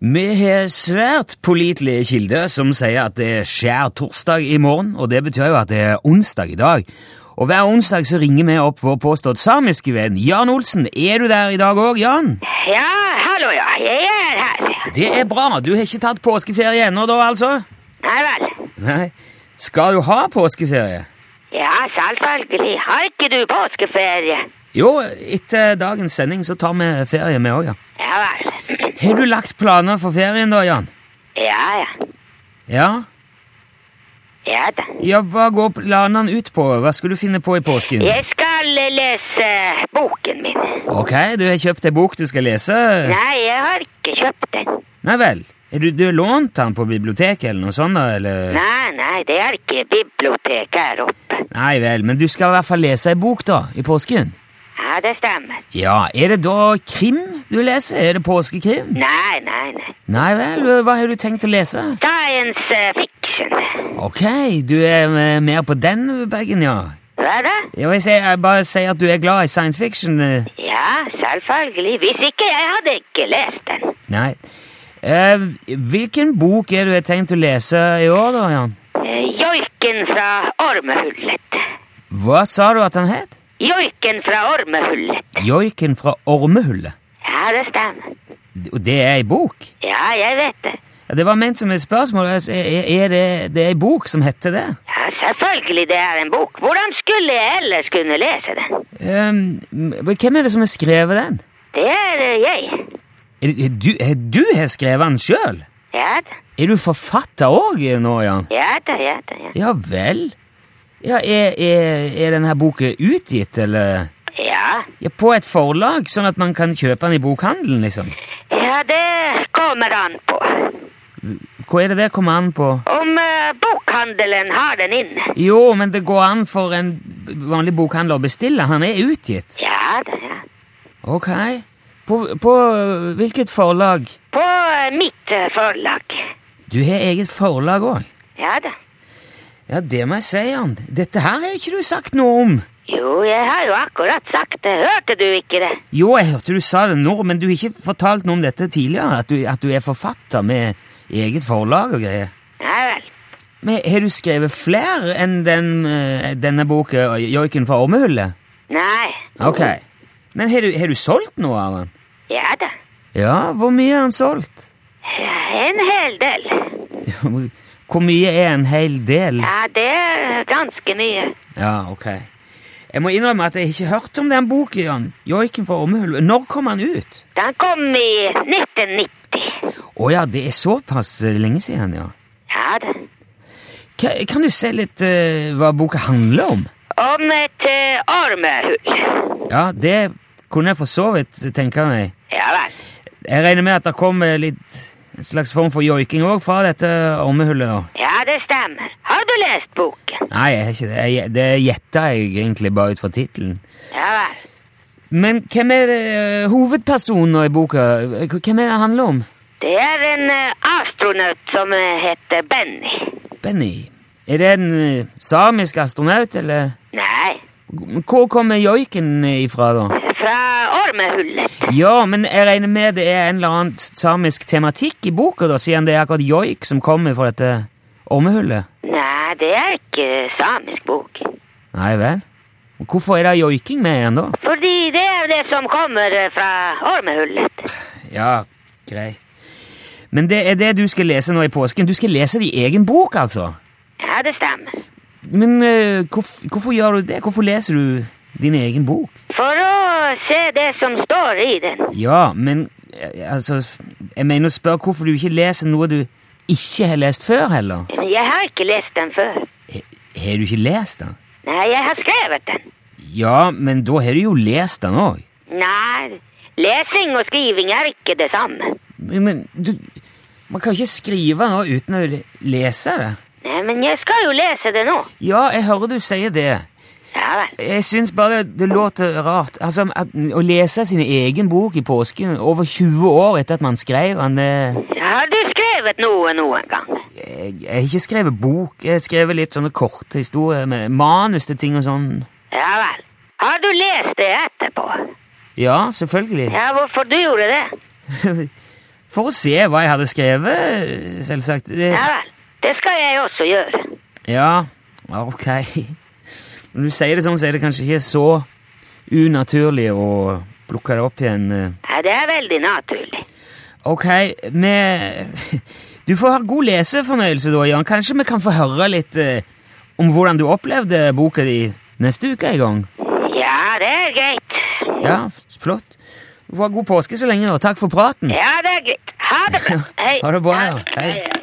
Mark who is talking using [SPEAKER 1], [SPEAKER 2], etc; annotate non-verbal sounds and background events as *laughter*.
[SPEAKER 1] Vi har svært pålitelige kilder som sier at det er skjær torsdag i morgen, og det betyr jo at det er onsdag i dag. Og hver onsdag så ringer vi opp vår påstått samiske venn Jan Olsen. Er du der i dag òg, Jan?
[SPEAKER 2] Ja, hallo, ja. Jeg er her.
[SPEAKER 1] Det er bra. Du har ikke tatt påskeferie ennå, da, altså?
[SPEAKER 2] Nei vel.
[SPEAKER 1] Nei. Skal du ha påskeferie?
[SPEAKER 2] Ja, selvfølgelig. Har ikke du påskeferie?
[SPEAKER 1] Jo, etter dagens sending så tar vi ferie, vi òg, ja.
[SPEAKER 2] Ja vel.
[SPEAKER 1] Har du lagt planer for ferien, da, Jan?
[SPEAKER 2] Ja, ja.
[SPEAKER 1] Ja?
[SPEAKER 2] Ja da.
[SPEAKER 1] Ja, hva går planene ut på? Hva skal du finne på i påsken?
[SPEAKER 2] Jeg skal eh, lese boken min.
[SPEAKER 1] Ok, du har kjøpt ei bok du skal lese?
[SPEAKER 2] Nei, jeg har ikke kjøpt den.
[SPEAKER 1] Nei vel. Har du, du har lånt den på biblioteket eller noe sånt, da? Eller?
[SPEAKER 2] Nei, nei, det er ikke bibliotek her oppe.
[SPEAKER 1] Nei vel, men du skal i hvert fall lese ei bok, da, i påsken?
[SPEAKER 2] Ja, det stemmer.
[SPEAKER 1] Ja, er det da krim du leser? Er det påskekrim?
[SPEAKER 2] Nei, nei, nei.
[SPEAKER 1] Nei vel, hva har du tenkt å lese?
[SPEAKER 2] Science eh, fiction.
[SPEAKER 1] Ok, du er eh, mer på den bagen, ja.
[SPEAKER 2] Hva da?
[SPEAKER 1] Jeg, vil si, jeg bare sier at du er glad i science fiction. eh.
[SPEAKER 2] Ja, selvfølgelig. Hvis ikke, jeg hadde ikke lest den.
[SPEAKER 1] Nei. Eh, hvilken bok er du har tenkt å lese i år, da, Jan?
[SPEAKER 2] Eh, Joiken fra ormehullet.
[SPEAKER 1] Hva sa du at den het?
[SPEAKER 2] Joiken fra ormehullet.
[SPEAKER 1] Joiken fra ormehullet.
[SPEAKER 2] Ja, det stemmer.
[SPEAKER 1] Og det er ei bok?
[SPEAKER 2] Ja, jeg vet det.
[SPEAKER 1] Ja, Det var ment som et spørsmål. altså, Er, er det, det er ei bok som heter det?
[SPEAKER 2] Ja, selvfølgelig det er en bok. Hvordan skulle jeg ellers kunne lese den?
[SPEAKER 1] Ehm, men hvem er det som har skrevet den?
[SPEAKER 2] Det er eh, jeg.
[SPEAKER 1] Er, det- er du, er, du har skrevet den sjøl?
[SPEAKER 2] Ja da,
[SPEAKER 1] Er du forfatter òg nå, Jan?
[SPEAKER 2] ja da, ja da. Ja,
[SPEAKER 1] Ja vel. Ja, er, er, er denne boka utgitt, eller?
[SPEAKER 2] ja.
[SPEAKER 1] Ja, På et forlag, sånn at man kan kjøpe den i bokhandelen, liksom?
[SPEAKER 2] ja det kommer an på.
[SPEAKER 1] Hva er det det kommer an på?
[SPEAKER 2] Om eh, bokhandelen har den inne.
[SPEAKER 1] Jo, men det går an for en vanlig bokhandler å bestille. Han er utgitt.
[SPEAKER 2] Ja da, ja.
[SPEAKER 1] Ok. På, på øh, hvilket forlag?
[SPEAKER 2] På eh, mitt eh, forlag.
[SPEAKER 1] Du har eget forlag òg.
[SPEAKER 2] Ja da.
[SPEAKER 1] Ja, det må jeg si, Jan. Dette her har ikke du sagt noe om.
[SPEAKER 2] Jo, jeg har jo akkurat sagt det. Hørte du ikke det?
[SPEAKER 1] Jo, jeg hørte du sa det nå, men du har ikke fortalt noe om dette tidligere. At du, at du er forfatter med eget forlag og greier.
[SPEAKER 2] Ja vel.
[SPEAKER 1] Men har du skrevet flere enn den, øh, denne boka, Joiken fra ormehullet?
[SPEAKER 2] Nei.
[SPEAKER 1] Ok. Men har du, har du solgt noe av den?
[SPEAKER 2] Ja da.
[SPEAKER 1] Ja, hvor mye har den solgt?
[SPEAKER 2] Ja, en hel del.
[SPEAKER 1] *laughs* Hvor mye er en hel del?
[SPEAKER 2] Ja, det er ganske mye.
[SPEAKER 1] Ja, ok. Jeg må innrømme at jeg ikke har hørt om den boken, Jan. Joiken fra Ormehullet. Når kom han ut?
[SPEAKER 2] Den kom i 1990.
[SPEAKER 1] Å ja, det er såpass eh, lenge siden, ja.
[SPEAKER 2] Ja da.
[SPEAKER 1] Ka- Kan du se litt eh, hva boka handler om?
[SPEAKER 2] Om et eh, ormehull.
[SPEAKER 1] Ja, det kunne jeg for så vidt tenke meg.
[SPEAKER 2] Ja vel.
[SPEAKER 1] Jeg regner med at det kom eh, litt en slags form for joiking òg fra dette ormehullet, da.
[SPEAKER 2] Ja, det stemmer. Har du lest boken?
[SPEAKER 1] Nei, jeg har ikke det. Jeg, det gjetta jeg egentlig bare ut fra tittelen.
[SPEAKER 2] Ja vel.
[SPEAKER 1] Men hvem er eh, hovedpersonen nå i boka? Hvem er det det handler om?
[SPEAKER 2] Det er en eh, astronaut som eh, heter Benny.
[SPEAKER 1] Benny, er det en eh, samisk astronaut, eller?
[SPEAKER 2] Nei,
[SPEAKER 1] Hvor kommer joiken eh, ifra, da?
[SPEAKER 2] fra ormehullet.
[SPEAKER 1] Ja, men jeg regner med det er en eller annen samisk tematikk i boka, da, siden det er akkurat joik som kommer fra dette ormehullet?
[SPEAKER 2] Nei, det er ikke samisk bok.
[SPEAKER 1] Nei vel? Hvorfor er det joiking med igjen, da?
[SPEAKER 2] Fordi det er det som kommer eh, fra ormehullet.
[SPEAKER 1] Ja, greit. Men det er det du skal lese nå i påsken. Du skal lese din egen bok, altså?
[SPEAKER 2] Ja, det stemmer.
[SPEAKER 1] Men eh, hvorf hvorfor gjør du det? Hvorfor leser du din egen bok?
[SPEAKER 2] For å se det som står i den.
[SPEAKER 1] Ja, men eh, altså Jeg mener å spørre hvorfor du ikke leser noe du ikke har lest før, heller.
[SPEAKER 2] Jeg har ikke lest den før.
[SPEAKER 1] He- Har du ikke lest den?
[SPEAKER 2] Nei, jeg har skrevet den.
[SPEAKER 1] Ja, men da har du jo lest den òg.
[SPEAKER 2] Nei, lesing og skriving er ikke det samme.
[SPEAKER 1] Men men du Man kan ikke skrive noe uten å le- lese det.
[SPEAKER 2] Nei, men jeg skal jo lese det nå.
[SPEAKER 1] Ja, jeg hører du sier det.
[SPEAKER 2] Ja vel.
[SPEAKER 1] Jeg syns bare det, det låter rart. Altså, at, Å lese sin egen bok i påsken, over 20 år etter at man skrev den det,
[SPEAKER 2] Har du skrevet noe noen gang?
[SPEAKER 1] jeg, jeg har ikke skrevet bok, jeg har skrevet litt sånne korte historier med manus til ting og sånn.
[SPEAKER 2] Ja vel. Har du lest det etterpå?
[SPEAKER 1] Ja, selvfølgelig.
[SPEAKER 2] Ja, hvorfor du gjorde det?
[SPEAKER 1] *laughs* for å se hva jeg hadde skrevet, selvsagt. Det-
[SPEAKER 2] Ja vel. Det skal jeg også gjøre.
[SPEAKER 1] Ja, ja, ok. *laughs* Når du sier det sånn, så er det kanskje ikke så unaturlig å plukke det opp igjen. eh.
[SPEAKER 2] Ja, det er veldig naturlig.
[SPEAKER 1] Ok, vi *laughs* Du får ha god lesefornøyelse da, Jan. Kanskje vi kan få høre litt eh, om hvordan du opplevde boka di neste uke en gang?
[SPEAKER 2] Ja, det er greit.
[SPEAKER 1] Ja, f- flott. Du får ha god påske så lenge, og takk for praten.
[SPEAKER 2] Ja, det er greit. *laughs* Ha det bra. Hei.
[SPEAKER 1] Ha det bra, ja. Hei.
[SPEAKER 2] Hei.